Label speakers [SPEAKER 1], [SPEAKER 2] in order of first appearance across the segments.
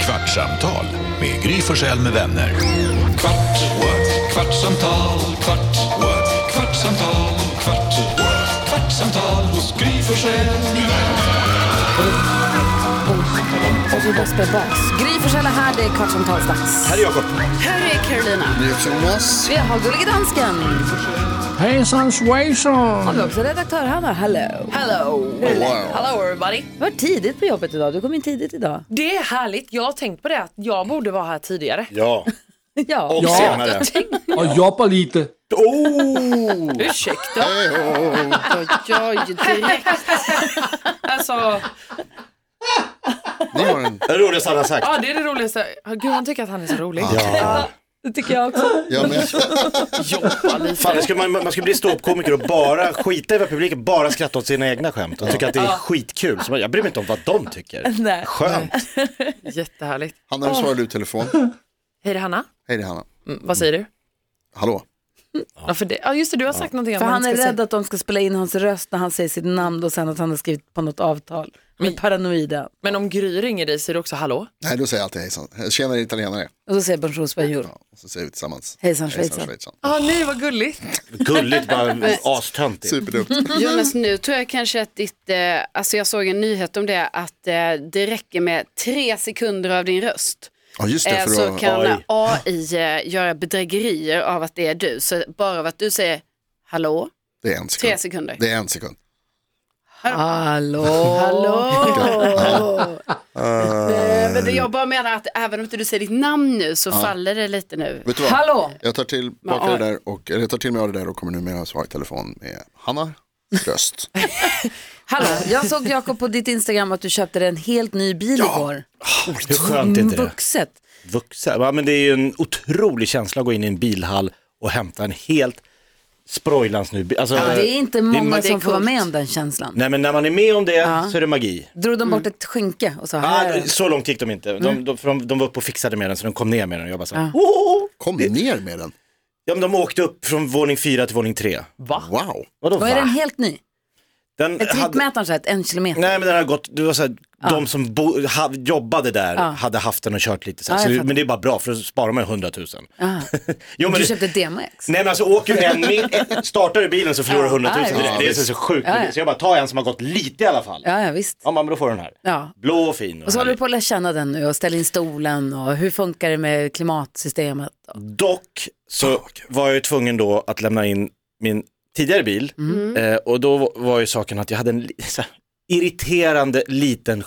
[SPEAKER 1] Kvartsamtal med Gry Forssell med vänner. Kvart, what? kvartsamtal, kvart, what? kvartsamtal, kvart, what? kvartsamtal hos Gry Forssell med vänner.
[SPEAKER 2] Och så bara spär bas. Gry Forssell är här, det är Kvartsamtalsdags. Här är Jakob. Här är Carolina. Jonas. Vi har Gullige Dansken.
[SPEAKER 3] Hejsan svejsan!
[SPEAKER 2] Och vi har också redaktör Hanna. Hello.
[SPEAKER 4] Hello!
[SPEAKER 2] Hello.
[SPEAKER 4] Hello everybody!
[SPEAKER 2] Du var tidigt på jobbet idag. Du kom in tidigt idag.
[SPEAKER 4] Det är härligt, jag har tänkt på det att jag borde vara här tidigare.
[SPEAKER 5] Ja.
[SPEAKER 2] Ja.
[SPEAKER 5] Och senare.
[SPEAKER 3] Och jobbar lite.
[SPEAKER 5] Oh!
[SPEAKER 4] Ursäkta. Alltså,
[SPEAKER 5] Det är roligt han har sagt.
[SPEAKER 4] ja det är det roligaste. Ah, Gud han tycker att han är så rolig.
[SPEAKER 5] Ja.
[SPEAKER 2] Det tycker jag också.
[SPEAKER 6] Ja, men,
[SPEAKER 5] Fan, det ska, man, man ska bli ståuppkomiker och bara skita i vad publiken bara skratta åt sina egna skämt och tycka att det är skitkul. Så man- jag bryr mig inte om vad de tycker.
[SPEAKER 2] Nej.
[SPEAKER 5] Skönt.
[SPEAKER 4] Jättehärligt.
[SPEAKER 6] Hanna, nu svarar du i telefon.
[SPEAKER 4] Hej det är Hanna.
[SPEAKER 6] Hej, det är Hanna.
[SPEAKER 4] Mm, vad säger du?
[SPEAKER 6] Hallå.
[SPEAKER 4] Ja, för det. ja just det, du har sagt någonting om
[SPEAKER 2] För
[SPEAKER 4] vad
[SPEAKER 2] han är
[SPEAKER 4] ska
[SPEAKER 2] rädd
[SPEAKER 4] säga.
[SPEAKER 2] att de ska spela in hans röst när han säger sitt namn och sen att han har skrivit på något avtal. Men paranoida.
[SPEAKER 4] Men om Gry ringer dig säger du också hallå?
[SPEAKER 6] Nej, då säger jag alltid hejsan. Tjenare italienare.
[SPEAKER 2] Och så säger Bonjour Spanjor.
[SPEAKER 6] Ja, och så säger vi tillsammans.
[SPEAKER 2] Hejsan, schweizan.
[SPEAKER 4] Ja nej vad gulligt.
[SPEAKER 5] Gulligt, bara astöntigt.
[SPEAKER 6] Superdumt.
[SPEAKER 7] Jonas, nu tror jag kanske att ditt, eh, alltså jag såg en nyhet om det, att eh, det räcker med tre sekunder av din röst.
[SPEAKER 6] Ja, just det.
[SPEAKER 7] Eh,
[SPEAKER 6] För
[SPEAKER 7] så
[SPEAKER 6] att,
[SPEAKER 7] kan
[SPEAKER 5] AI.
[SPEAKER 7] AI eh, göra bedrägerier av att det är du. Så bara av att du säger hallå,
[SPEAKER 6] det är en sekund.
[SPEAKER 7] tre sekunder.
[SPEAKER 6] Det är en sekund.
[SPEAKER 2] Hallå.
[SPEAKER 7] Hallå! Nej, men det- jag bara menar att även om inte du säger ditt namn nu så faller det lite nu.
[SPEAKER 6] Vet du vad?
[SPEAKER 2] Hallå.
[SPEAKER 6] Jag tar till,
[SPEAKER 7] Ja,
[SPEAKER 6] baka
[SPEAKER 7] ja.
[SPEAKER 6] det där och, eller jag tar till mig av det där och kommer numera svara i telefon med Hanna röst.
[SPEAKER 2] Hallå. Jag såg Jakob på ditt Instagram att du köpte dig en helt ny bil igår. Mm,
[SPEAKER 5] Hur skönt är inte det?
[SPEAKER 2] Vuxet.
[SPEAKER 5] Vuxen. Ja, men det är ju en otrolig känsla att gå in i en bilhall och hämta en helt sproilans ny bil. Alltså,
[SPEAKER 2] Det är inte många
[SPEAKER 5] ma-
[SPEAKER 2] som får vara
[SPEAKER 7] coolt.
[SPEAKER 2] med om den känslan.
[SPEAKER 5] Nej, men när man är med om det så är det magi.
[SPEAKER 2] Drog de bort ett skynke och sa här Mm. är
[SPEAKER 5] Ah,
[SPEAKER 2] den.
[SPEAKER 5] så långt gick de inte. De, de, för de, de var uppe och fixade med den så de kom ner med den och jag bara så här, "Ohoho."
[SPEAKER 6] Kom ner med den.
[SPEAKER 5] Ja men de åkte upp från våning fyra till våning tre.
[SPEAKER 6] Wow.
[SPEAKER 5] Vadå
[SPEAKER 2] Och är den helt ny?
[SPEAKER 5] Den
[SPEAKER 2] Är
[SPEAKER 5] hade, nej
[SPEAKER 2] trippmätaren så här, ett en kilometer?
[SPEAKER 5] men den har gått, det var så här, de som bo, ha, jobbade där hade haft den och kört lite så, här,
[SPEAKER 2] Ja,
[SPEAKER 5] så
[SPEAKER 2] jag
[SPEAKER 5] det,
[SPEAKER 2] fattar.
[SPEAKER 5] Men det är bara bra för då sparar man 100 000.
[SPEAKER 2] Ah.
[SPEAKER 5] Jo, men
[SPEAKER 2] Du
[SPEAKER 5] det-
[SPEAKER 2] köpte DMX?
[SPEAKER 5] Nej men alltså åker en mil, startar du bilen så förlorar du 100 000
[SPEAKER 2] Ja,
[SPEAKER 5] direkt. Det är så, så sjukt. Så jag bara tar en som har gått lite i alla fall. Ja,
[SPEAKER 2] Ja, ja visst.
[SPEAKER 5] men då får du den här.
[SPEAKER 2] Ja.
[SPEAKER 5] Blå och fin. Och
[SPEAKER 2] Och så håller
[SPEAKER 5] härlig.
[SPEAKER 2] du på att lära känna den nu och ställa in stolen och hur funkar det med klimatsystemet? Och-
[SPEAKER 5] Dock så var jag ju tvungen då att lämna in min tidigare bil
[SPEAKER 2] Mm.
[SPEAKER 5] eh, och då var ju saken att jag hade en li- så här, irriterande liten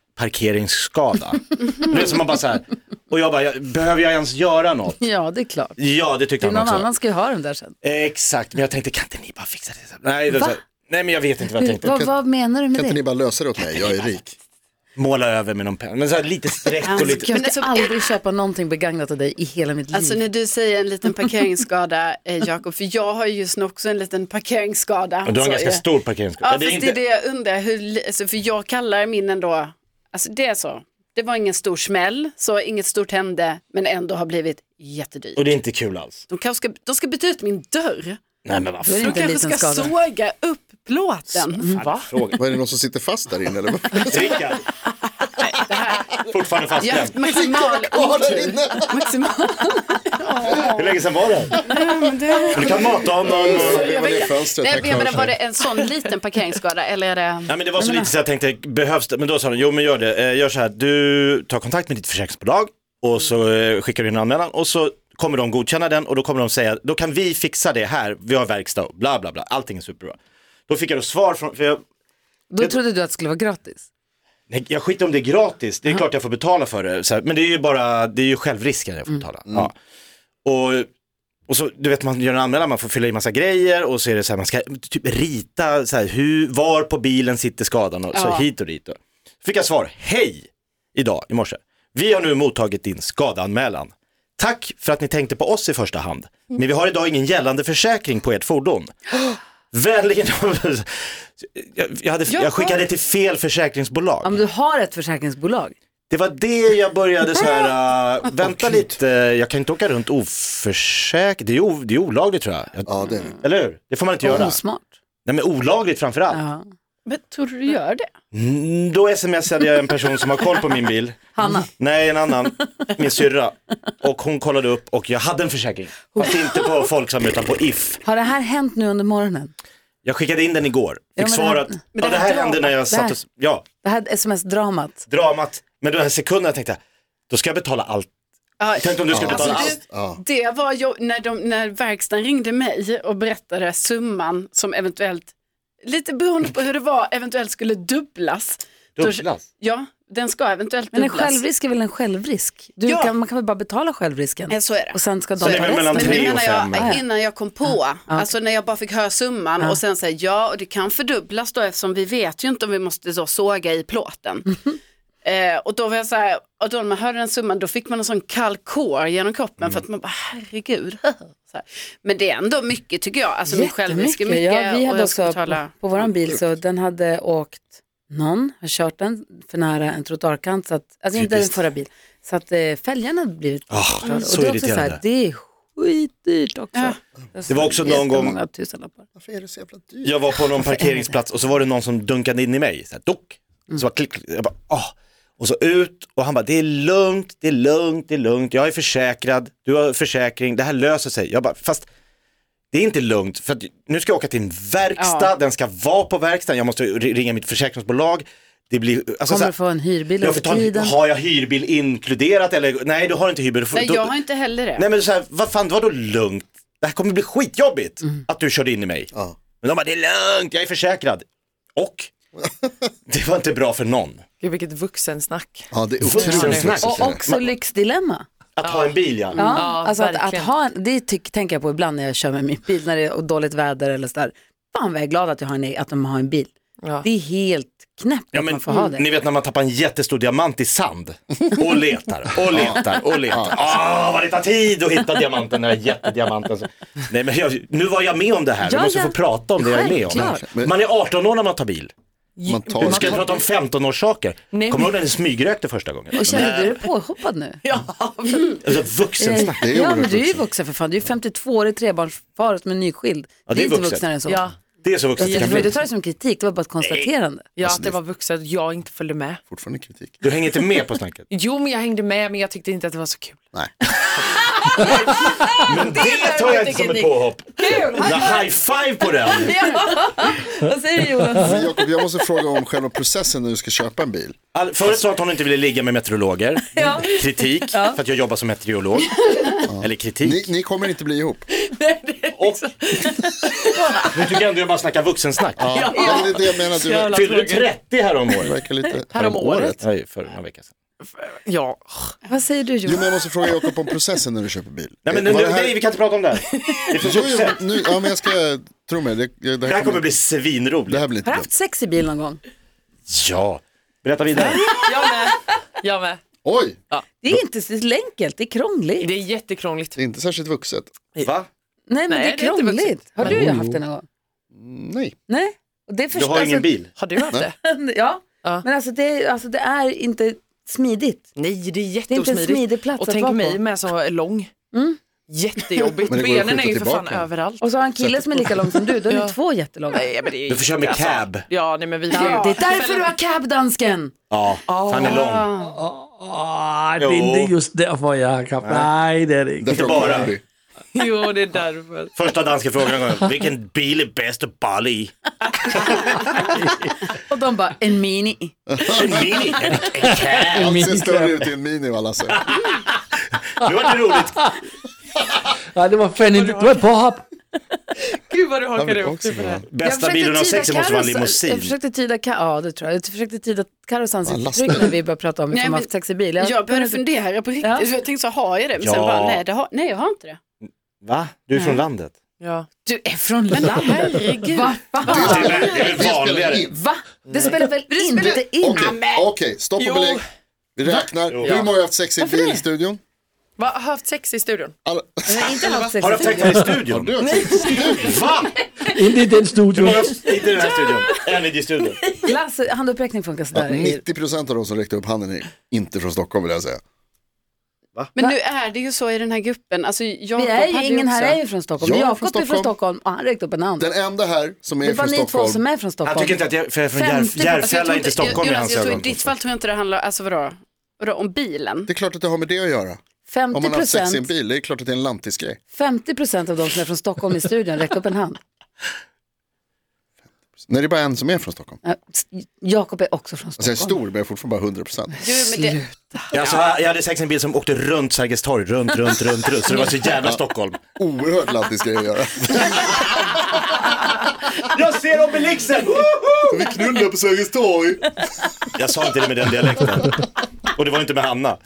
[SPEAKER 5] skitparkeringsskada. Du vet, så man bara så här, och jag bara, jag, behöver jag ens göra något?
[SPEAKER 2] Ja, det är klart.
[SPEAKER 5] Ja, det tyckte
[SPEAKER 2] Någon
[SPEAKER 5] han också.
[SPEAKER 2] annan ska ju ha den där sen.
[SPEAKER 5] Eh, exakt, men jag tänkte kan inte ni bara fixa det? Nej, det var
[SPEAKER 2] Va?
[SPEAKER 5] så här, nej men jag vet inte vad jag
[SPEAKER 2] Hur,
[SPEAKER 5] tänkte.
[SPEAKER 2] vad, vad menar du med
[SPEAKER 6] Kan inte ni
[SPEAKER 2] det?
[SPEAKER 6] bara lösa det åt mig? Jag är rik.
[SPEAKER 5] Måla över med någon penna, men så här, lite streck och lite...
[SPEAKER 2] Jag
[SPEAKER 7] Men
[SPEAKER 2] ska
[SPEAKER 7] alltså-
[SPEAKER 2] aldrig köpa någonting begagnat av dig i hela mitt liv.
[SPEAKER 7] Alltså när du säger en liten parkeringsskada, eh, Jakob, för jag har ju just nu också en liten parkeringsskada.
[SPEAKER 5] Och
[SPEAKER 2] alltså,
[SPEAKER 5] du har en
[SPEAKER 7] Så,
[SPEAKER 5] ganska
[SPEAKER 7] eh,
[SPEAKER 5] stor parkeringsskada.
[SPEAKER 7] Ja, det är, det, är det jag undrar. Hur, li- alltså, för jag kallar min ändå, alltså det är så. Det var ingen stor smäll, så inget stort hände, men ändå har blivit jättedyrt.
[SPEAKER 5] Och det är inte kul alls.
[SPEAKER 7] De kanske ska, de ska byta ut min dörr.
[SPEAKER 5] Nej men vad
[SPEAKER 2] Det är
[SPEAKER 5] fan.
[SPEAKER 7] De
[SPEAKER 2] inte en
[SPEAKER 7] kanske
[SPEAKER 2] liten
[SPEAKER 7] ska
[SPEAKER 2] skada.
[SPEAKER 7] såga upp plåten.
[SPEAKER 5] Va? Fråga.
[SPEAKER 6] Vad är det någon som sitter fast där inne eller? vad?
[SPEAKER 5] Rickard. Fortfarande
[SPEAKER 7] Jag
[SPEAKER 5] fastklämd.
[SPEAKER 7] har haft maximal
[SPEAKER 6] Kvar där inne.
[SPEAKER 7] Maximal.
[SPEAKER 5] Hur länge sedan var det? Mm, Du kan mata honom.
[SPEAKER 6] Det var det fönstret.
[SPEAKER 7] Nej,
[SPEAKER 6] Här
[SPEAKER 7] men jag menar,
[SPEAKER 6] kommer-
[SPEAKER 7] var det en sån liten parkeringsskada eller är det?
[SPEAKER 5] Nej men det var så lite så jag tänkte, behövs det? Men då sa de, jo men gör det, Eh, gör så här, du tar kontakt med ditt försäkringsbolag och så eh, skickar du in en anmälan och så kommer de godkänna den och då kommer de säga, då kan vi fixa det här, vi har verkstad, och bla bla bla, allting är superbra. Då fick jag då svar från, för jag,
[SPEAKER 2] Då trodde du att det skulle vara gratis.
[SPEAKER 5] nej, jag skiter om det är gratis, det är klart jag får betala för det, så här, men det är ju bara, det är ju självrisken jag får betala. Ja. Och, och så, du vet man gör en anmälan, man får fylla i massa grejer och så är det så här, man ska typ rita så här, hur, var på bilen sitter skadan och så
[SPEAKER 7] Ja.
[SPEAKER 5] hit och dit. Då. Fick jag svar, hej, idag i morse. Vi har nu mottagit din skadeanmälan. Tack för att ni tänkte på oss i första hand, men vi har idag ingen gällande försäkring på ert fordon. Vänligen, jag, jag, hade, jag skickade till fel försäkringsbolag.
[SPEAKER 2] Om du har ett försäkringsbolag.
[SPEAKER 5] Det var det jag började så här, äh, vänta lite, jag kan inte åka runt oförsäkrad, det, är o- det är olagligt tror jag. jag
[SPEAKER 6] Ja, det är det.
[SPEAKER 5] Eller hur? Det får man inte göra.
[SPEAKER 2] Osmart.
[SPEAKER 5] Nej men olagligt framförallt.
[SPEAKER 2] Ja.
[SPEAKER 7] Men tror du du gör det?
[SPEAKER 5] Mm, Då smsade jag en person som har koll på min bil.
[SPEAKER 2] Hanna.
[SPEAKER 5] Nej, en annan. Min syrra. Och hon kollade upp och jag hade en försäkring. Fast inte på Folksam utan på If.
[SPEAKER 2] Har det här hänt nu under morgonen?
[SPEAKER 5] Jag skickade in den igår.
[SPEAKER 2] Ja,
[SPEAKER 5] Fick
[SPEAKER 2] men det här-
[SPEAKER 5] svar att
[SPEAKER 2] men
[SPEAKER 5] ja, det här hände när jag
[SPEAKER 2] det här-
[SPEAKER 5] satt och... Ja,
[SPEAKER 2] Det här sms-dramat?
[SPEAKER 5] dramat. Men den här sekunden tänkte jag, då ska jag betala allt.
[SPEAKER 7] Ja,
[SPEAKER 5] Tänk om du ska betala
[SPEAKER 7] Alltså,
[SPEAKER 5] allt.
[SPEAKER 7] du, det var ju, när, de, när verkstaden ringde mig och berättade summan som eventuellt, lite beroende på hur det var, eventuellt skulle dubblas.
[SPEAKER 5] Dubblas?
[SPEAKER 7] Då, ja, den ska eventuellt
[SPEAKER 2] Men en
[SPEAKER 7] dubblas.
[SPEAKER 2] självrisk är väl en självrisk? Du
[SPEAKER 7] Ja.
[SPEAKER 2] kan, man kan väl bara betala självrisken?
[SPEAKER 7] Ja, så är det.
[SPEAKER 2] Och sen ska de
[SPEAKER 5] Så det är väl mellan
[SPEAKER 7] Men nu
[SPEAKER 5] tre och
[SPEAKER 7] menar
[SPEAKER 5] fem.
[SPEAKER 7] jag innan jag kom på, alltså när jag bara fick höra summan och sen säger ja, och det kan fördubblas då eftersom vi vet ju inte om vi måste så såga i plåten. Eh, och då var jag så här, och då när man hörde den summan då fick man en sån kall kår genom kroppen
[SPEAKER 2] Mm.
[SPEAKER 7] för att man bara herregud. Så här. Men det är ändå mycket tycker jag, alltså min självrisk är mycket.
[SPEAKER 2] Ja, vi
[SPEAKER 7] och
[SPEAKER 2] hade
[SPEAKER 7] jag
[SPEAKER 2] också
[SPEAKER 7] ska
[SPEAKER 2] på,
[SPEAKER 7] betala-
[SPEAKER 2] på våran bil så den hade åkt någon har kört den för nära en trottoarkant, så att, alltså inte den
[SPEAKER 5] Typiskt.
[SPEAKER 2] förra bil, så att eh, fälgarna hade blivit
[SPEAKER 5] Ah,
[SPEAKER 2] förstörda.
[SPEAKER 5] så
[SPEAKER 2] och det är också så här,
[SPEAKER 5] irriterande.
[SPEAKER 2] det är skitdyrt också.
[SPEAKER 5] Det var också någon gång-
[SPEAKER 2] Jättemånga tusenlappar.
[SPEAKER 6] Varför är det så jävla dyrt?
[SPEAKER 5] Jag var på någon parkeringsplats och så var det någon som dunkade in i mig. Så här, dock.
[SPEAKER 7] Mm.
[SPEAKER 5] Så bara klick, klick. jag bara, ah. Och så ut och han bara, det är lugnt, det är lugnt, det är lugnt. Jag är försäkrad, du har försäkring, det här löser sig. Jag bara, fast det är inte lugnt för att nu ska jag åka till en verkstad,
[SPEAKER 7] Ja.
[SPEAKER 5] den ska vara på verkstaden, jag måste ri- ringa mitt försäkringsbolag. Det blir, alltså, så
[SPEAKER 2] Kommer du
[SPEAKER 5] här,
[SPEAKER 2] få en hyrbil
[SPEAKER 5] jag får
[SPEAKER 2] under
[SPEAKER 5] ta, en-
[SPEAKER 2] tiden?
[SPEAKER 5] har jag hyrbil inkluderat eller nej du har inte hyrbil. Du får-
[SPEAKER 7] Nej,
[SPEAKER 5] då-
[SPEAKER 7] jag har inte heller det.
[SPEAKER 5] Nej men så här, vad fan, vadå lugnt? Det här kommer bli skitjobbigt
[SPEAKER 7] Mm.
[SPEAKER 5] att du körde in i mig.
[SPEAKER 6] Ja.
[SPEAKER 5] Men de bara, det är lugnt, jag är försäkrad. Och? Det var inte bra för någon.
[SPEAKER 4] Gud vilket vuxensnack.
[SPEAKER 6] Ja, det är otroligt.
[SPEAKER 5] Vuxensnack.
[SPEAKER 6] vuxet.
[SPEAKER 2] Och också lyxdilemma.
[SPEAKER 5] Att ha en bil ja.
[SPEAKER 2] Ja,
[SPEAKER 4] Ja,
[SPEAKER 2] alltså att, att
[SPEAKER 4] verkligen.
[SPEAKER 2] ha, en- det tyck, tänker jag på ibland när jag kör med min bil när det är dåligt väder eller sådär. Fan vad jag är glad att, jag har en, e- att de har en bil.
[SPEAKER 4] Ja.
[SPEAKER 2] Det är helt knäppt
[SPEAKER 5] Ja,
[SPEAKER 2] att
[SPEAKER 5] men,
[SPEAKER 2] man får ha det.
[SPEAKER 5] Ni vet när man tappar en jättestor diamant i sand och letar och letar och letar. Ah, vad det tar tid att hitta diamanten, den här jättediamanten. Nej men jag, nu var jag med om det här,
[SPEAKER 2] Ja,
[SPEAKER 5] vi måste
[SPEAKER 2] ja.
[SPEAKER 5] få prata om det jag är med om.
[SPEAKER 2] Självklart.
[SPEAKER 6] Men-
[SPEAKER 5] Man är 18 år när man tar bil.
[SPEAKER 6] Man tar
[SPEAKER 5] Vi ska inte prata om 15-årssaker. Kommer
[SPEAKER 4] Nej.
[SPEAKER 5] du ihåg när ni smygrökte första gången?
[SPEAKER 2] Och känner du dig påhoppad nu?
[SPEAKER 4] Ja,
[SPEAKER 5] Alltså, vuxensnack.
[SPEAKER 6] Eh, Det är
[SPEAKER 2] ja, men
[SPEAKER 6] oerhört
[SPEAKER 2] du är ju
[SPEAKER 6] vuxen.
[SPEAKER 2] vuxen för fan. Du är 52-årig trebarnsfar som är nyskild.
[SPEAKER 5] Ja,
[SPEAKER 2] det är inte
[SPEAKER 5] vuxet.
[SPEAKER 2] vuxnare än så.
[SPEAKER 4] ja,
[SPEAKER 5] Det är så vuxet det
[SPEAKER 2] Jag
[SPEAKER 5] kan
[SPEAKER 2] tror, du
[SPEAKER 5] bli.
[SPEAKER 2] tar det som kritik, det var bara ett konstaterande.
[SPEAKER 4] ja att det var vuxet och jag inte följde med.
[SPEAKER 6] Fortfarande kritik.
[SPEAKER 5] Du hänger inte med på snacket.
[SPEAKER 4] Jo, men jag hängde med, men jag tyckte inte att det var så kul.
[SPEAKER 6] Nej.
[SPEAKER 5] Men det tar jag inte som ett påhopp. Kul! High five på den!
[SPEAKER 2] Vad säger du Jonas?
[SPEAKER 6] Men Jakob, jag måste fråga om själva processen när du ska köpa en bil.
[SPEAKER 5] All, förut sa att hon inte ville ligga med meteorologer. Kritik, för att jag jobbar som meteorolog. Eller kritik.
[SPEAKER 6] Ni, ni kommer inte bli ihop.
[SPEAKER 5] Och... nu tycker jag ändå jag bara snackar vuxensnack.
[SPEAKER 6] Ja. men Det är det jag menar. Du
[SPEAKER 4] Jävla
[SPEAKER 5] Fyllde du
[SPEAKER 4] tråkigt.
[SPEAKER 5] 30 häromåret?
[SPEAKER 6] verkar lite...
[SPEAKER 4] Häromåret.
[SPEAKER 5] Nej, för några veckor sedan.
[SPEAKER 4] Ja,
[SPEAKER 2] Vad säger du
[SPEAKER 6] Jo, men
[SPEAKER 2] Jonas?
[SPEAKER 6] jag måste fråga Jakob om processen när du köper bil.
[SPEAKER 5] Nej, men nu,
[SPEAKER 6] Var det
[SPEAKER 5] nej, vi kan inte prata om det här. Det är för
[SPEAKER 6] Jo, jo,
[SPEAKER 5] vuxet.
[SPEAKER 6] men nu, ja, men jag ska tro mig. Det, det,
[SPEAKER 5] Det här kommer bli
[SPEAKER 6] det
[SPEAKER 5] svinroligt.
[SPEAKER 6] här blir inte
[SPEAKER 2] Har du
[SPEAKER 6] dumt.
[SPEAKER 2] haft sex i bil någon gång?
[SPEAKER 5] Ja. Berätta vidare.
[SPEAKER 4] jag med. Jag med.
[SPEAKER 6] Oj,
[SPEAKER 2] Det är inte så enkelt, det är krångligt.
[SPEAKER 4] Det är jättekrångligt.
[SPEAKER 6] det är inte särskilt vuxet.
[SPEAKER 5] Va?
[SPEAKER 2] Nej men
[SPEAKER 4] Nej,
[SPEAKER 2] det är
[SPEAKER 4] det är inte vuxet.
[SPEAKER 2] krångligt. Har du haft det någon gång?
[SPEAKER 6] Nej.
[SPEAKER 2] Nej. Och det är
[SPEAKER 5] Du
[SPEAKER 2] först-
[SPEAKER 5] har ingen
[SPEAKER 2] alltså,
[SPEAKER 5] bil?
[SPEAKER 4] Har du haft det?
[SPEAKER 2] ja.
[SPEAKER 4] Ja.
[SPEAKER 2] men alltså det, är- alltså det är inte smidigt.
[SPEAKER 4] Nej, det är
[SPEAKER 2] Det är inte en
[SPEAKER 4] jätteosmidigt.
[SPEAKER 2] smidig plats
[SPEAKER 4] och
[SPEAKER 2] att
[SPEAKER 4] tänk
[SPEAKER 2] vara
[SPEAKER 4] mig
[SPEAKER 2] på.
[SPEAKER 4] med som är lång. Jättejobbigt.
[SPEAKER 6] Men det går ju att
[SPEAKER 4] Benen är ju
[SPEAKER 6] skjuta
[SPEAKER 4] för fan
[SPEAKER 6] tillbaka.
[SPEAKER 4] överallt.
[SPEAKER 2] Och så har en kille som är lika lång som du, då är ni
[SPEAKER 4] Ja.
[SPEAKER 2] två jättelånga.
[SPEAKER 4] Nej, men det är
[SPEAKER 5] Du får köra med cab.
[SPEAKER 4] Ja, nej men vi får
[SPEAKER 2] Ja.
[SPEAKER 4] ju...
[SPEAKER 2] Det är därför du har cab-dansken.
[SPEAKER 5] Ja, han är lång.
[SPEAKER 3] Åh, det er
[SPEAKER 5] Jo.
[SPEAKER 3] ikke just derfor, Jakob. Nej, det er det ikke.
[SPEAKER 6] Därför
[SPEAKER 5] Inte bara.
[SPEAKER 6] kommer vi.
[SPEAKER 4] Jo, det är därför.
[SPEAKER 5] Första danska frågan var, vilken bil är bäst att balla i?
[SPEAKER 2] Och de bara, en mini.
[SPEAKER 5] En mini? En, en cab?
[SPEAKER 6] Allt ser
[SPEAKER 3] Minicab.
[SPEAKER 6] större ut i en mini vad alla säger.
[SPEAKER 5] Nu var det roligt.
[SPEAKER 3] Nej, det var fandme, det var et påhop.
[SPEAKER 4] Gud vad du
[SPEAKER 6] Han
[SPEAKER 4] hakar
[SPEAKER 6] vill
[SPEAKER 4] upp
[SPEAKER 6] också
[SPEAKER 4] dig på det
[SPEAKER 6] vara.
[SPEAKER 4] här.
[SPEAKER 5] Bästa
[SPEAKER 2] försökte
[SPEAKER 5] bilen av
[SPEAKER 2] tyda
[SPEAKER 5] sexen måste vara en
[SPEAKER 2] Carros-
[SPEAKER 7] eh,
[SPEAKER 2] Jag
[SPEAKER 5] limousin.
[SPEAKER 2] försökte tyda, Ka- ja det tror jag. Jag försökte tyda Carros ansiktsuttryck
[SPEAKER 6] lastbil.
[SPEAKER 2] när vi började prata om
[SPEAKER 7] Nej,
[SPEAKER 2] ifall man
[SPEAKER 7] men-
[SPEAKER 2] haft sex i bil.
[SPEAKER 7] Jag började fundera på riktigt,
[SPEAKER 2] Ja.
[SPEAKER 7] för jag tänkte så har jag det? Men
[SPEAKER 5] Ja.
[SPEAKER 7] sen bara, nej, det har, nej jag har inte det.
[SPEAKER 5] Va? Du är från landet.
[SPEAKER 4] Ja.
[SPEAKER 2] Du är från landet.
[SPEAKER 7] Herregud.
[SPEAKER 2] Va fan?
[SPEAKER 5] Det är väl- det är väl vanligare.
[SPEAKER 2] Va? Det spelar väl inte in?
[SPEAKER 6] Okej, okej, stopp och
[SPEAKER 4] Jo.
[SPEAKER 6] belägg. Vi räknar. Hur många har haft sex i bilstudion?
[SPEAKER 4] Va, har haft sex i studion?
[SPEAKER 6] Alla...
[SPEAKER 2] Jag har inte haft sex
[SPEAKER 5] Har du
[SPEAKER 2] i
[SPEAKER 5] haft sex
[SPEAKER 2] bil.
[SPEAKER 5] här i studion?
[SPEAKER 6] Du har haft sex.
[SPEAKER 5] Va?
[SPEAKER 3] Inde i den studio.
[SPEAKER 5] Bara Inte i den här studion. En i din studion.
[SPEAKER 2] Lasse, handuppräckning funkar sådär.
[SPEAKER 6] 90 procent av de som räckte upp handen är inte från Stockholm vill jag säga.
[SPEAKER 5] Va?
[SPEAKER 7] Men nu är det ju så i den här gruppen. Alltså, Jakob
[SPEAKER 2] Vi är
[SPEAKER 7] hade
[SPEAKER 2] ju, ingen här
[SPEAKER 7] också-
[SPEAKER 2] är ju från Stockholm.
[SPEAKER 6] Jag är från
[SPEAKER 2] Jakob är från
[SPEAKER 6] Stockholm.
[SPEAKER 2] Stockholm och han räckte upp en hand.
[SPEAKER 6] Den enda här som
[SPEAKER 2] Det
[SPEAKER 6] är
[SPEAKER 2] är bara
[SPEAKER 6] från
[SPEAKER 2] ni två som
[SPEAKER 6] Stockholm.
[SPEAKER 2] är från Stockholm.
[SPEAKER 5] Han tycker inte att jag, för jag är från Jär,
[SPEAKER 2] 50%.
[SPEAKER 7] alltså, Jag
[SPEAKER 5] Järfälla,
[SPEAKER 7] tror
[SPEAKER 5] inte Stockholm i
[SPEAKER 7] Jonas,
[SPEAKER 5] hans
[SPEAKER 7] jag tror i
[SPEAKER 5] ögon.
[SPEAKER 7] ditt fall tror jag inte det handlar, alltså vadå, vadå om bilen?
[SPEAKER 6] Det är klart att det har med det att göra. Om
[SPEAKER 2] 50
[SPEAKER 6] man har haft sex i en
[SPEAKER 2] procent,
[SPEAKER 6] bil, det är klart att det är en lantisgrej.
[SPEAKER 2] 50 procent av de som är från Stockholm i studion räcker upp en hand.
[SPEAKER 6] Nej, det är bara en som är från Stockholm.
[SPEAKER 2] Eh, s- Jakob är också från
[SPEAKER 6] Alltså jag är
[SPEAKER 2] Stockholm.
[SPEAKER 6] stor, men jag är fortfarande bara 100%.
[SPEAKER 7] Du, men det,
[SPEAKER 5] Ja, alltså, jag hade sex i en bil som åkte runt Sergels torg, runt, runt, runt, runt. Så det var så jävla Stockholm.
[SPEAKER 6] Oerhört lantisgrej att göra.
[SPEAKER 5] Jag ser obelixen!
[SPEAKER 6] Vi knullar på Sergels torg.
[SPEAKER 5] Jag sa inte det med den dialekten. Och det var inte med Hanna.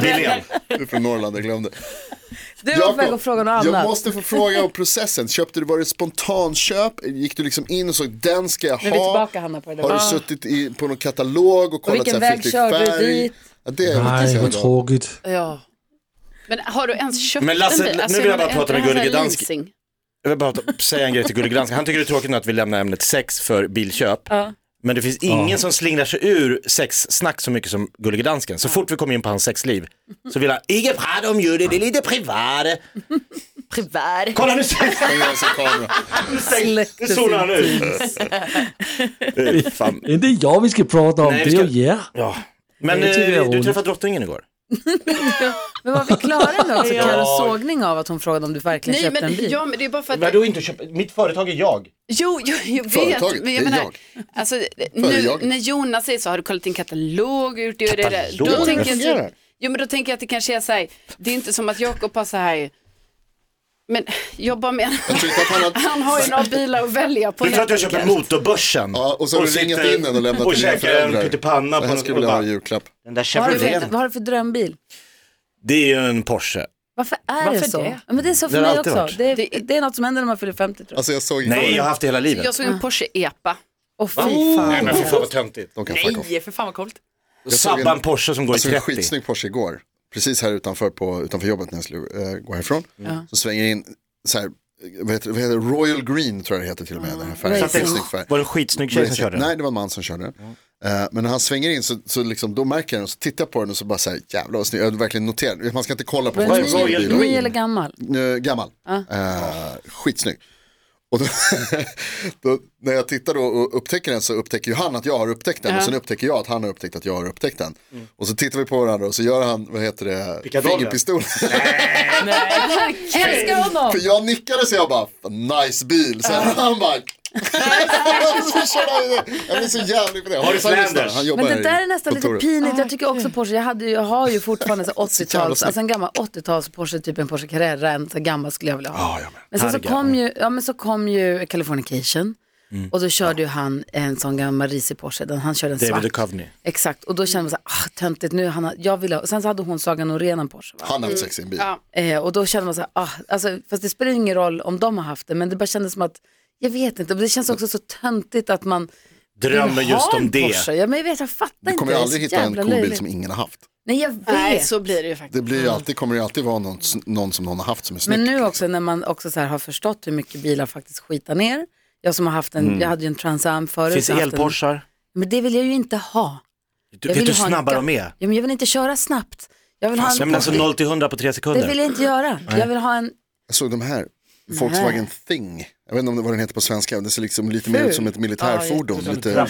[SPEAKER 5] Billén.
[SPEAKER 6] Du är från Norrland, jag glömde.
[SPEAKER 2] Du var på väg att fråga något
[SPEAKER 6] jag
[SPEAKER 2] annat.
[SPEAKER 6] måste få fråga om processen. Köpte du, var det spontanköp? Gick du liksom in och såg den ska jag ha?
[SPEAKER 2] Nu är vi tillbaka, Hanna, på det där.
[SPEAKER 6] Har du
[SPEAKER 2] Ah.
[SPEAKER 6] suttit i, på någon katalog och kollat
[SPEAKER 2] vilken
[SPEAKER 6] så här,
[SPEAKER 2] väg
[SPEAKER 6] finns det
[SPEAKER 2] körde du
[SPEAKER 6] färg?
[SPEAKER 2] dit?
[SPEAKER 6] Ja, det är jag
[SPEAKER 3] Nej,
[SPEAKER 6] intresserad
[SPEAKER 3] vad
[SPEAKER 6] av.
[SPEAKER 3] tråkigt.
[SPEAKER 4] Ja.
[SPEAKER 7] men har du ens köpt
[SPEAKER 5] Men Lasse,
[SPEAKER 7] en bil? Alltså,
[SPEAKER 5] nu vill jag bara
[SPEAKER 7] menar,
[SPEAKER 5] prata med
[SPEAKER 7] är det här
[SPEAKER 5] Gullige
[SPEAKER 7] så här
[SPEAKER 5] Dansk.
[SPEAKER 7] leasing?
[SPEAKER 5] Jag vill bara ta- säga en grej till Gullig Gransk. Han tycker det är tråkigt nu att vi lämnar ämnet sex för bilköp. Men det finns ingen som slingrar sig ur sexsnack så mycket som Gullige Dansken. Så fort vi kommer in på hans sexliv så vill han, inget prata om det, det är lite privat.
[SPEAKER 2] Privat.
[SPEAKER 5] Kolla nu säger
[SPEAKER 6] Jag gör så kamera.
[SPEAKER 5] Det zonar han ut. Det är Fan.
[SPEAKER 3] Det är inte jag vi ska prata om,
[SPEAKER 5] Nej,
[SPEAKER 3] det
[SPEAKER 5] vi
[SPEAKER 3] är
[SPEAKER 5] ska-
[SPEAKER 3] ju er.
[SPEAKER 5] Ja. Men
[SPEAKER 3] Det tycker jag är
[SPEAKER 5] eh, du
[SPEAKER 3] roligt.
[SPEAKER 5] träffade drottningen igår.
[SPEAKER 2] Men var vi klara nu också? Karos sågning av att hon frågade om du verkligen
[SPEAKER 7] Nej,
[SPEAKER 2] köpte en
[SPEAKER 7] men,
[SPEAKER 2] bil.
[SPEAKER 7] ja, men det är bara för att,
[SPEAKER 5] Vadå inte köpa? Mitt företag är jag.
[SPEAKER 7] jo, jo, jag vet,
[SPEAKER 6] Företaget,
[SPEAKER 7] men
[SPEAKER 6] det är
[SPEAKER 7] jag menar,
[SPEAKER 6] jag.
[SPEAKER 7] alltså, nu,
[SPEAKER 6] Företaget.
[SPEAKER 7] när Jonas säger så, har du kollat din katalog och gjort det och det där?
[SPEAKER 5] Katalog?
[SPEAKER 7] Då tänker
[SPEAKER 6] Hur fungerar
[SPEAKER 7] jag, typ-
[SPEAKER 6] det?
[SPEAKER 7] jo, men då tänker jag att det kanske är så här, det är inte som att Jakob har så här, men jag bara menar,
[SPEAKER 6] Jag tror inte att han har...
[SPEAKER 7] han har ju några bilar att välja på.
[SPEAKER 5] Du tror att jag
[SPEAKER 7] helt
[SPEAKER 5] köper
[SPEAKER 7] enkelt.
[SPEAKER 5] Motorbörsen?
[SPEAKER 6] Ja, och så har du ringat
[SPEAKER 5] sitter
[SPEAKER 6] in den och lämnat
[SPEAKER 5] och
[SPEAKER 6] till dina
[SPEAKER 5] käkar en
[SPEAKER 6] föräldrar.
[SPEAKER 5] pyttipanna
[SPEAKER 6] Det
[SPEAKER 5] på
[SPEAKER 6] här
[SPEAKER 5] någon-
[SPEAKER 6] skulle jag
[SPEAKER 5] och
[SPEAKER 6] vilja ha i
[SPEAKER 5] bara,
[SPEAKER 6] julklapp.
[SPEAKER 5] Den där
[SPEAKER 2] Vad har, du för,
[SPEAKER 5] Chevroleten.
[SPEAKER 2] vad har du för drömbil?
[SPEAKER 5] Det är ju en Porsche.
[SPEAKER 2] Varför är det
[SPEAKER 4] Varför
[SPEAKER 2] så?
[SPEAKER 4] det?
[SPEAKER 2] Ja, men det är så
[SPEAKER 5] Det
[SPEAKER 2] för
[SPEAKER 5] har
[SPEAKER 2] mig
[SPEAKER 5] alltid
[SPEAKER 2] också.
[SPEAKER 5] varit.
[SPEAKER 2] Det är, det är något som händer när man fyller 50 tror jag.
[SPEAKER 6] Alltså jag såg
[SPEAKER 5] Nej, jag har haft det hela livet.
[SPEAKER 7] Jag såg en Porsche EPA.
[SPEAKER 2] Åh fy fan.
[SPEAKER 5] men fy fan vad töntigt.
[SPEAKER 6] De kan fuck off.
[SPEAKER 4] Nej, för fan vad coolt.
[SPEAKER 6] såg
[SPEAKER 5] Sabba
[SPEAKER 6] en-
[SPEAKER 5] en Alltså, Porsche som går i
[SPEAKER 6] Jag såg en
[SPEAKER 5] 30.
[SPEAKER 6] skitsnygg Porsche igår. Precis här utanför, på, utanför jobbet när jag skulle eh, gå härifrån. Så svänger jag in så här, eh, vad heter, vad heter det? Royal Green tror jag det heter till och med. Den här färgen.
[SPEAKER 2] Racing.
[SPEAKER 6] Skitsnygg färg.
[SPEAKER 5] Var det en skitsnygg tjej som körde den?
[SPEAKER 6] Nej, det var en man som körde den. Eh, Men när han svänger in så, så liksom, då märker jag den och så tittar jag på den och så bara säger jävlar vad snygg. Jag har verkligen noterat, man ska inte kolla på
[SPEAKER 2] Var
[SPEAKER 6] vad
[SPEAKER 2] den
[SPEAKER 6] som är i
[SPEAKER 5] Royal
[SPEAKER 2] ny,
[SPEAKER 6] bilen.
[SPEAKER 2] ny eller gammal?
[SPEAKER 6] Eh, gammal. Eh, skitsnygg. Och då, då, när jag tittar då och upptäcker den så upptäcker ju han att jag har upptäckt den och sen upptäcker jag att han har upptäckt att jag har upptäckt den. Och så tittar vi på varandra och så gör han, vad heter det,
[SPEAKER 5] Pickadollen.
[SPEAKER 6] fingerpistol.
[SPEAKER 2] Älskar honom!
[SPEAKER 6] För jag nickade så jag bara, nice bil. Sen han bara, så körde han iväg. jag blir så jävlig på det.
[SPEAKER 5] Har du
[SPEAKER 6] Han lyssnar,
[SPEAKER 5] Flanders?
[SPEAKER 6] Han jobbar
[SPEAKER 2] Men det
[SPEAKER 6] i
[SPEAKER 2] där är nästan lite
[SPEAKER 6] kontoret.
[SPEAKER 2] pinigt. Jag tycker också Porsche. Jag, hade ju, jag har ju fortfarande så 80-tals,
[SPEAKER 6] snyggt.
[SPEAKER 2] alltså en gammal 80-tals Porsche, typ en Porsche Carrera, en så gammal skulle jag vilja ha. Men sen så
[SPEAKER 5] Targa.
[SPEAKER 2] kom ju, ja men så kom ju Californication. Och då körde ju han en sån gammal risig Porsche, den, han körde en
[SPEAKER 5] David
[SPEAKER 2] svart.
[SPEAKER 5] Duchovny.
[SPEAKER 2] Exakt, och då kände man så här, ah, töntigt nu, han har, jag vill ha, och sen så hade hon Saga Norén en Porsche va?
[SPEAKER 6] Han har haft sex i en bil.
[SPEAKER 7] Ja.
[SPEAKER 2] Eh, och då kände man så här, ah, alltså, fast det spelar ingen roll om de har haft det, men det bara kändes som att, jag vet inte, men det känns också så töntigt att man
[SPEAKER 5] Drömmer
[SPEAKER 2] vill ha
[SPEAKER 5] just
[SPEAKER 2] en
[SPEAKER 5] om det.
[SPEAKER 2] Porsche. Ja, men jag vet, jag fattar
[SPEAKER 6] Du kommer
[SPEAKER 2] inte.
[SPEAKER 6] ju
[SPEAKER 2] det är så
[SPEAKER 6] aldrig hitta en
[SPEAKER 2] jävla
[SPEAKER 6] cool bil
[SPEAKER 2] löjligt.
[SPEAKER 6] som ingen har haft.
[SPEAKER 2] Nej, jag vet.
[SPEAKER 7] Nej, så blir det ju faktiskt.
[SPEAKER 6] Det blir ju alltid, kommer ju alltid vara någon, någon som någon har haft som är snygg.
[SPEAKER 2] Men nu också när man också så här har förstått hur mycket bilar faktiskt skitar ner. Jag som har haft en, jag hade ju en Trans Am förut.
[SPEAKER 5] Mm. Finns
[SPEAKER 2] jag har haft
[SPEAKER 5] elporschar?
[SPEAKER 2] En, men det vill jag ju inte ha. Jag
[SPEAKER 5] Du, vet
[SPEAKER 2] vill
[SPEAKER 5] du hur
[SPEAKER 2] ha en
[SPEAKER 5] snabba
[SPEAKER 2] ga-
[SPEAKER 5] de är?
[SPEAKER 2] Ja, men jag vill inte köra snabbt. Jag vill ha
[SPEAKER 5] Nej,
[SPEAKER 2] en
[SPEAKER 5] men alltså
[SPEAKER 2] Porsche.
[SPEAKER 5] 0 till 100 på 3
[SPEAKER 2] Det vill
[SPEAKER 5] sekunder.
[SPEAKER 2] jag inte göra. Jag vill ha en,
[SPEAKER 6] Jag såg de här, Volkswagen Thing. Jag vet inte om det vad den heter på svenska, men det ser liksom lite mer ut som ett militärfordon. lite,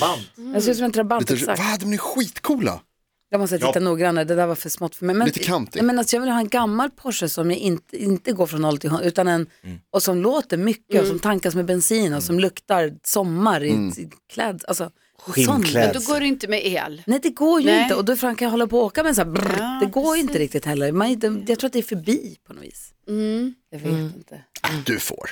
[SPEAKER 2] jag ser ut som en Trabant
[SPEAKER 6] lite,
[SPEAKER 2] exakt.
[SPEAKER 6] vad, de är skitcoola.
[SPEAKER 2] Jag måste titta noggrannare, det där var för smått för mig. Men,
[SPEAKER 6] Lite kantig.
[SPEAKER 2] Nej, Men alltså, jag vill ha en gammal Porsche som jag inte, inte går från 0 till 100, utan en,
[SPEAKER 6] Mm.
[SPEAKER 2] och som låter mycket och som tankas med bensin och som luktar sommar i,
[SPEAKER 6] Mm.
[SPEAKER 2] i kläd, alltså, en sån
[SPEAKER 5] Skinnklädsel.
[SPEAKER 7] Då går det inte med el.
[SPEAKER 2] Nej det går ju
[SPEAKER 7] Nej.
[SPEAKER 2] inte och då kan jag hålla på och åka med en sån här brrr. Det går ju inte riktigt heller. Man, är inte- jag tror att det är förbi på något vis. Jag vet
[SPEAKER 6] Mm.
[SPEAKER 2] inte.
[SPEAKER 6] Du får.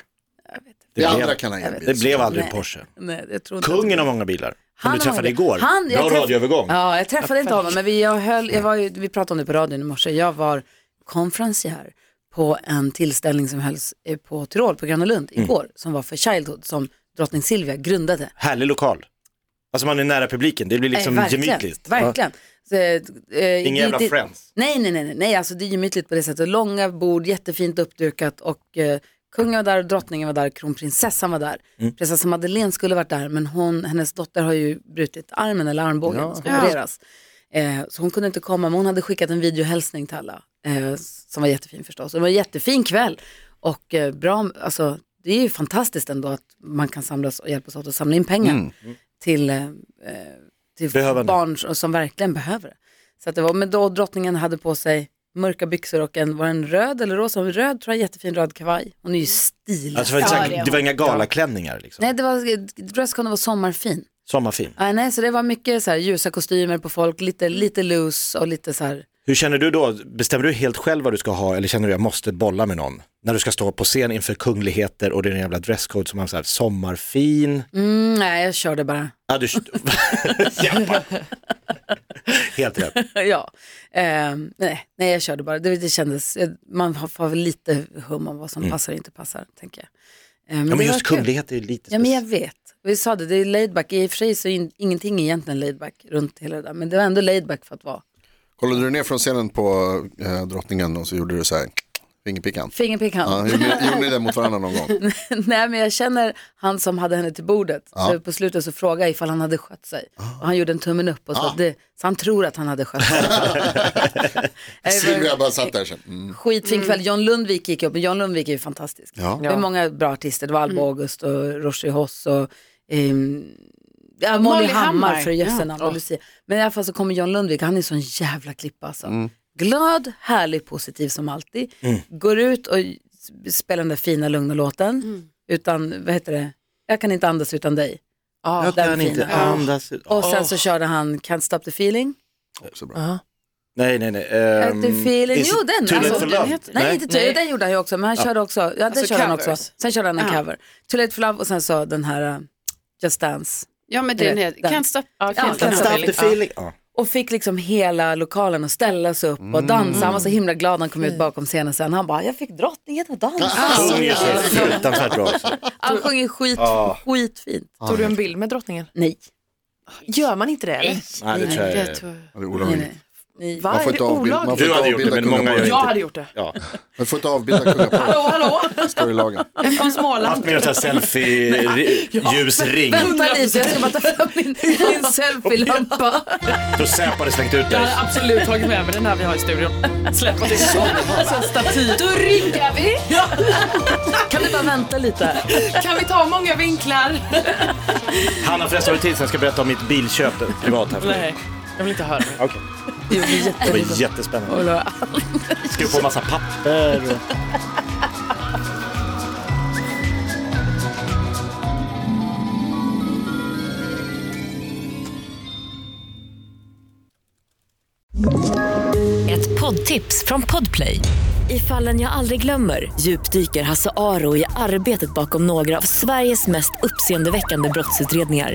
[SPEAKER 5] Det
[SPEAKER 6] Det andra
[SPEAKER 5] blev-
[SPEAKER 6] kan han
[SPEAKER 5] Det
[SPEAKER 6] bil.
[SPEAKER 5] blev aldrig en
[SPEAKER 2] Nej.
[SPEAKER 5] Porsche.
[SPEAKER 2] Nej, jag tror inte
[SPEAKER 5] Kungen av många bilar. Som
[SPEAKER 2] har
[SPEAKER 5] du
[SPEAKER 2] många
[SPEAKER 5] träffade
[SPEAKER 2] bilar.
[SPEAKER 5] igår.
[SPEAKER 2] Han- jag
[SPEAKER 5] Bra
[SPEAKER 2] träff-
[SPEAKER 5] radioövergång.
[SPEAKER 2] Ja, jag träffade inte honom men vi, jag höll, jag var ju, vi pratade om det på radion i morse. Jag var konferencier på en tillställning som hölls eh, på Tyrol, på Gröna Lund
[SPEAKER 5] Mm.
[SPEAKER 2] igår, som var för Childhood, som drottning Silvia grundade.
[SPEAKER 5] Härlig lokal. Alltså man är nära publiken, det blir liksom
[SPEAKER 2] Nej, Eh, verkligen,
[SPEAKER 5] gemytligt.
[SPEAKER 2] Verkligen. Så, eh,
[SPEAKER 5] Inga jävla
[SPEAKER 2] det-
[SPEAKER 5] friends.
[SPEAKER 2] Nej, nej, nej, nej, nej, alltså det är gemytligt på det sättet. Långa bord, jättefint uppdukat och eh, kungen var där, drottningen var där, kronprinsessan var där. Prinsessa Madeleine skulle varit där, men hon, hennes dotter har ju brutit armen eller armbågen och ska opereras. Eh, så hon kunde inte komma, men hon hade skickat en videohälsning till alla. eh, som var jättefin förstås. Det var en jättefin kväll och eh, bra, alltså, det är ju fantastiskt ändå att man kan samlas och hjälpas åt att samla in pengar till, eh, eh, till
[SPEAKER 5] Behövande.
[SPEAKER 2] barn som- som verkligen behöver det. Så att det var, men då drottningen hade på sig mörka byxor och en, var det en röd eller rosa, en röd tror jag, jättefin röd kavaj. Hon är ju stilig.
[SPEAKER 5] Alltså, det, var
[SPEAKER 7] Ja,
[SPEAKER 5] inte
[SPEAKER 7] det
[SPEAKER 5] säkert,
[SPEAKER 7] är
[SPEAKER 5] det var inga galaklänningar liksom.
[SPEAKER 2] Nej, det var, dresscoden var sommarfin.
[SPEAKER 5] Sommarfin.
[SPEAKER 2] Nej, nej, så det var mycket så här, ljusa kostymer på folk, lite, lite loose och lite så här.
[SPEAKER 5] Hur känner du då? Bestämmer du helt själv vad du ska ha eller känner du jag måste bolla med någon? När du ska stå på scen inför kungligheter och det är en jävla dresscode som man säger sommarfin.
[SPEAKER 2] Mm, nej, jag körde bara.
[SPEAKER 5] Ja, du... Jävlar. helt rätt.
[SPEAKER 2] ja, Ehm, nej, nej, jag körde bara. Det, det kändes, eh, man har- får väl lite hum om vad som passar och inte passar, tänker jag. Ehm,
[SPEAKER 5] Mm. Ja,
[SPEAKER 2] det
[SPEAKER 5] men
[SPEAKER 2] var
[SPEAKER 5] just
[SPEAKER 2] kul.
[SPEAKER 5] kungligheter är lite
[SPEAKER 2] Ja, men jag vet. Vi sa det, det är laidback. I och för sig så är in, ingenting egentligen laidback runt hela det där, men det var ändå laidback för att vara.
[SPEAKER 6] Kollade du ner från scenen på eh, drottningen och så gjorde du så här, fingerpickan.
[SPEAKER 2] Fingerpickan.
[SPEAKER 6] Ja, gjorde, ni- gjorde ni det mot varandra någon gång?
[SPEAKER 2] Nej men jag känner han som hade henne till bordet. Så på slutet så frågade jag ifall han hade skött sig. Och han gjorde en tummen upp och så, att det, så han tror att han hade skött sig. Nej, det var
[SPEAKER 6] Silvia bara satt där sen. Mm.
[SPEAKER 2] en Skitfin kväll. John Lundvik gick upp, men John Lundvik är ju fantastisk.
[SPEAKER 6] Ja.
[SPEAKER 2] Det var många bra artister, det var Alba August och Roshi Hoss och ehm, ja, Molly,
[SPEAKER 7] Molly
[SPEAKER 2] Hammar,
[SPEAKER 7] Hammar.
[SPEAKER 2] för jösse namn, och Lucia. Men i alla fall så kommer John Lundvik, han är sån jävla klippa alltså. Glad, härlig, positiv som alltid. Går ut och spelar den där fina lugna låten. Utan, vad heter det, jag kan inte andas utan dig.
[SPEAKER 5] Ah.
[SPEAKER 2] Ja, den fina.
[SPEAKER 5] andas.
[SPEAKER 2] Och sen
[SPEAKER 5] Åh.
[SPEAKER 2] så körde han Can't stop the feeling.
[SPEAKER 6] Också bra.
[SPEAKER 5] Nej, nej, nej. ehm,
[SPEAKER 2] At the feeling.
[SPEAKER 5] is
[SPEAKER 2] Jo,
[SPEAKER 5] it
[SPEAKER 2] den,
[SPEAKER 5] too late
[SPEAKER 2] alltså,
[SPEAKER 5] for
[SPEAKER 2] den
[SPEAKER 5] love?
[SPEAKER 7] heter-
[SPEAKER 2] Nej, inte Tull,
[SPEAKER 4] Nej.
[SPEAKER 2] den gjorde han ju också, men han körde också, ja, den
[SPEAKER 7] Alltså
[SPEAKER 2] körde han också.
[SPEAKER 7] covers.
[SPEAKER 2] Sen körde han en
[SPEAKER 7] Ja.
[SPEAKER 2] cover. Too late for love och sen så den här uh, Just Dance.
[SPEAKER 7] Ja men den
[SPEAKER 2] Det-
[SPEAKER 7] är,
[SPEAKER 2] den.
[SPEAKER 7] can't stop.
[SPEAKER 4] Ja,
[SPEAKER 2] Ja,
[SPEAKER 4] Can't
[SPEAKER 2] Can't
[SPEAKER 4] Stop
[SPEAKER 5] Stop the feeling. Ja.
[SPEAKER 2] Och fick liksom hela lokalen att ställa sig upp och dansa. Han var så himla glad när han kom ut bakom scenen sen. Han bara, jag fick drottningen att dansa.
[SPEAKER 5] Kung är så fruktansvärt bra också.
[SPEAKER 2] Han sjunger skit, skitfint.
[SPEAKER 6] Ah,
[SPEAKER 4] Tog du en bild med drottningen?
[SPEAKER 2] Nej,
[SPEAKER 4] Gör man inte det? eller?
[SPEAKER 5] Nej, det tror jag.
[SPEAKER 7] Jag
[SPEAKER 5] är-
[SPEAKER 7] tror-
[SPEAKER 6] Ja, det
[SPEAKER 2] nej,
[SPEAKER 6] är olagligt.
[SPEAKER 2] nej. nej.
[SPEAKER 4] Va?
[SPEAKER 6] Man får
[SPEAKER 4] Är det
[SPEAKER 6] inte avbild- man får
[SPEAKER 5] Du
[SPEAKER 6] inte
[SPEAKER 5] hade gjort det,
[SPEAKER 6] avbilda
[SPEAKER 5] men många gör
[SPEAKER 6] kungaparet.
[SPEAKER 5] inte.
[SPEAKER 4] Jag hade gjort det.
[SPEAKER 5] Ja.
[SPEAKER 6] Man får inte avbilda kungaparet,
[SPEAKER 4] Hallå, hallå!
[SPEAKER 6] står i lagen.
[SPEAKER 7] Jag är från Småland.
[SPEAKER 5] Haft med en selfie-ljusring.
[SPEAKER 2] Vänta lite, jag ska bara ta fram min, min selfie-lampa.
[SPEAKER 5] Så Säpo hade slängt ut
[SPEAKER 4] Jag
[SPEAKER 5] dig.
[SPEAKER 4] hade absolut tagit med mig den här vi har i studion. Släppa till Som staty.
[SPEAKER 7] Då ryggar vi.
[SPEAKER 2] Kan du bara vänta lite?
[SPEAKER 4] Kan vi ta många vinklar?
[SPEAKER 5] Hanna förresten, har du tid sen ska jag berätta om mitt bilköp privat här för dig.
[SPEAKER 4] Nej, jag vill inte höra.
[SPEAKER 5] Okej.
[SPEAKER 2] Det gjorde
[SPEAKER 5] Det
[SPEAKER 2] jätteont.
[SPEAKER 5] var jättespännande. Skrev på massa papper. och-
[SPEAKER 8] Ett poddtips från Podplay. I fallen jag aldrig glömmer djupdyker Hasse Aro i arbetet bakom några av Sveriges mest uppseendeväckande brottsutredningar.